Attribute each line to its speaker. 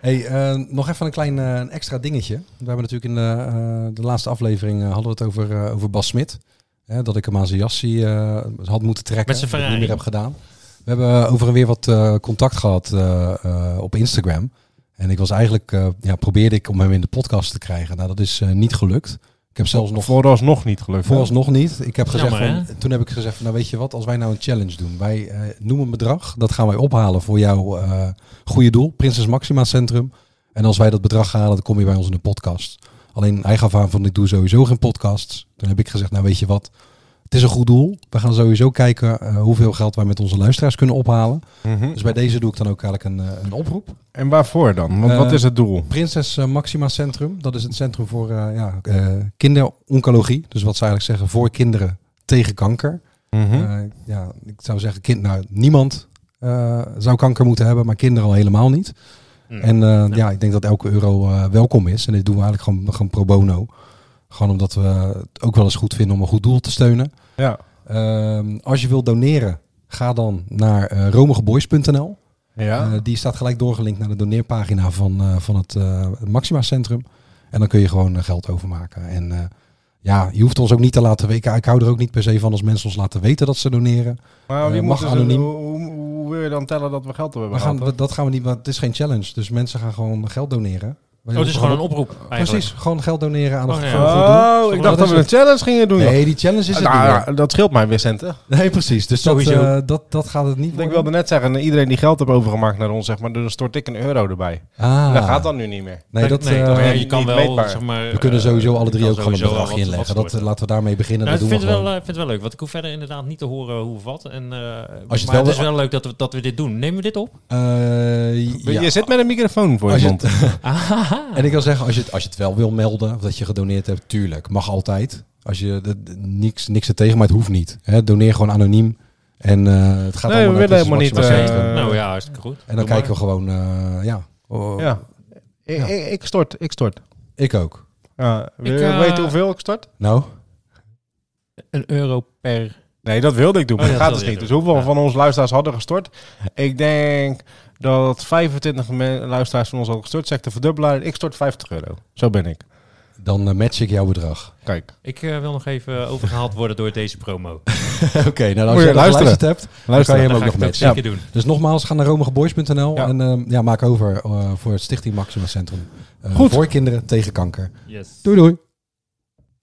Speaker 1: Hey, eh, nog even een klein eh, een extra dingetje. We hebben natuurlijk in de, eh, de laatste aflevering eh, hadden we het over, eh, over Bas Smit. Hè, dat ik hem aan zijn jassie eh, had moeten trekken. dat
Speaker 2: Met zijn
Speaker 1: ik niet
Speaker 2: Ferrari.
Speaker 1: meer heb gedaan. We hebben over en weer wat eh, contact gehad eh, eh, op Instagram. En ik was eigenlijk, eh, ja, probeerde ik om hem in de podcast te krijgen. Nou, dat is eh, niet gelukt. Ik heb zelfs nog
Speaker 3: Vooralsnog niet gelukt.
Speaker 1: Vooralsnog niet. Ik heb gezegd
Speaker 2: Jammer,
Speaker 1: van, toen heb ik gezegd, van, nou weet je wat, als wij nou een challenge doen. Wij eh, noemen een bedrag, dat gaan wij ophalen voor jouw eh, goede doel, Prinses Maxima Centrum. En als wij dat bedrag halen, dan kom je bij ons in de podcast. Alleen hij gaf aan van, ik doe sowieso geen podcasts. Toen heb ik gezegd, nou weet je wat, het is een goed doel. We gaan sowieso kijken eh, hoeveel geld wij met onze luisteraars kunnen ophalen.
Speaker 3: Mhm.
Speaker 1: Dus bij deze doe ik dan ook eigenlijk een, eh, een oproep.
Speaker 3: En waarvoor dan? Want
Speaker 1: Eh,
Speaker 3: wat is het doel?
Speaker 1: Prinses eh, Maxima Centrum. Dat is het centrum voor eh, ja, eh, kinderoncologie. Dus wat ze eigenlijk zeggen voor kinderen tegen kanker.
Speaker 3: Mhm.
Speaker 1: Eh, ja, ik zou zeggen, kind, nou, niemand eh, zou kanker moeten hebben, maar kinderen al helemaal niet.
Speaker 2: Mm.
Speaker 1: En eh, ja, ik denk dat elke euro eh, welkom is. En dit doen we eigenlijk gewoon, gewoon pro bono. Gewoon omdat we het ook wel eens goed vinden om een goed doel te steunen.
Speaker 3: Ja.
Speaker 1: Ehm, als je wilt doneren, ga dan naar eh, romigeboys.nl.
Speaker 3: Ja.
Speaker 1: Eh, die staat gelijk doorgelinkt naar de doneerpagina van, eh, van het eh, Maxima Centrum. En dan kun je gewoon eh, geld overmaken. En eh, ja, je hoeft ons ook niet te laten weten. Ik hou er ook niet per se van als mensen ons laten weten dat ze doneren.
Speaker 3: maar wie
Speaker 1: eh,
Speaker 3: moet
Speaker 1: mag
Speaker 3: dus
Speaker 1: anoniem.
Speaker 3: Hoe, hoe- hoe wil je dan tellen dat we geld hebben
Speaker 1: We gaan,
Speaker 3: gehad,
Speaker 1: we- dat gaan we niet, want het is geen challenge. Dus mensen gaan gewoon geld doneren. Wij
Speaker 2: Oh, het is
Speaker 1: hoeven
Speaker 2: gewoon een oproep. Eigenlijk.
Speaker 1: Precies, gewoon geld doneren aan het
Speaker 2: Oh, ja.
Speaker 1: voor een goed doel.
Speaker 3: hè? Oh, ik dacht dat we een challenge gingen doen.
Speaker 1: Nee, die challenge is het
Speaker 3: Nou,
Speaker 1: niet.
Speaker 3: ja, dat scheelt mij weer centen.
Speaker 1: hoor. Nee, precies. Dus dat,
Speaker 2: Sowieso.
Speaker 1: eh, dat, dat gaat het niet
Speaker 3: Ik
Speaker 1: worden.
Speaker 3: wilde net zeggen, iedereen die geld heeft overgemaakt naar ons, zeg maar, dan stort ik een euro erbij.
Speaker 1: Ah,
Speaker 3: Dat gaat dan nu niet meer.
Speaker 1: Nee, dat, eh,
Speaker 2: maar ja, je
Speaker 3: niet
Speaker 2: kan wel,
Speaker 3: meetbaar.
Speaker 2: zeg maar...
Speaker 1: we kunnen
Speaker 2: eh,
Speaker 1: sowieso alle
Speaker 2: je
Speaker 1: drie
Speaker 2: kan
Speaker 1: ook gewoon een
Speaker 2: sowieso wel
Speaker 1: bedragje
Speaker 2: wat- wat
Speaker 1: inleggen. Dat, eh,
Speaker 2: storten.
Speaker 1: laten we daarmee beginnen.
Speaker 2: Nou, ik
Speaker 1: dat
Speaker 2: vind
Speaker 1: doen we
Speaker 2: het wel,
Speaker 1: gewoon.
Speaker 2: eh, vind het wel leuk, want ik hoef verder inderdaad niet te horen hoe of wat. En, eh,
Speaker 1: Als je
Speaker 2: maar
Speaker 1: het wel-
Speaker 2: het is wel leuk dat we, dat we dit doen. Nemen we dit op?
Speaker 1: Eh, ja.
Speaker 3: Je zit met een microfoon voor
Speaker 1: Als
Speaker 3: je
Speaker 1: je
Speaker 3: mond.
Speaker 2: Ahaha.
Speaker 1: En eh, ik wil zeggen, als je, het, als je het wel wil melden, of dat je gedoneerd hebt, tuurlijk, mag altijd. Als je de, de- niks, niks er tegen, maar het hoeft niet. Hè, doneer gewoon anoniem. En eh, het gaat
Speaker 3: Nee,
Speaker 1: allemaal
Speaker 3: we
Speaker 1: naar
Speaker 3: willen
Speaker 1: Christus
Speaker 3: helemaal niet,
Speaker 1: Maximaal
Speaker 3: eh,
Speaker 1: Centrum.
Speaker 2: nou ja, hartstikke goed.
Speaker 1: en dan
Speaker 2: Doe
Speaker 1: kijken
Speaker 2: maar.
Speaker 1: we gewoon, eh, ja. Oh,
Speaker 3: Ja. Ik,
Speaker 1: Ja.
Speaker 3: ik- ik stort, ik stort.
Speaker 1: Ik ook.
Speaker 3: Ja, wil
Speaker 2: Ik,
Speaker 3: je
Speaker 2: eh,
Speaker 3: weten hoeveel ik stort?
Speaker 1: Nou,
Speaker 2: Een euro per...
Speaker 3: Nee, dat wilde ik doen, maar
Speaker 2: Oh,
Speaker 3: dat
Speaker 2: ja,
Speaker 3: gaat
Speaker 2: dat
Speaker 3: dus
Speaker 2: wil
Speaker 3: niet.
Speaker 2: je
Speaker 3: Dus
Speaker 2: doen.
Speaker 3: hoeveel
Speaker 2: Ja.
Speaker 3: van onze luisteraars hadden gestort? Ik denk dat 25 men- luisteraars van ons hadden gestort. Zeg de verdubbelaar, ik stort 50 euro. Zo ben ik.
Speaker 1: dan eh, match ik jouw bedrag.
Speaker 3: Kijk,
Speaker 2: Ik eh, wil nog even overgehaald worden door deze promo.
Speaker 1: Oké, nou
Speaker 3: Moet
Speaker 1: als
Speaker 3: je
Speaker 1: je dat
Speaker 3: luisteren.
Speaker 1: geluisterd hebt.
Speaker 3: luister.
Speaker 1: kan je
Speaker 2: Dat
Speaker 1: hem
Speaker 2: ga
Speaker 1: ook
Speaker 2: ik
Speaker 1: nog
Speaker 2: ook
Speaker 1: matchen.
Speaker 2: zeker doen.
Speaker 1: Dus nogmaals, ga naar romigeboys.nl
Speaker 3: Ja.
Speaker 1: en eh, ja, maak over eh, voor het Stichting Maxima Centrum. eh,
Speaker 3: Goed.
Speaker 1: Voor kinderen tegen kanker.
Speaker 2: Yes.
Speaker 1: Doei doei.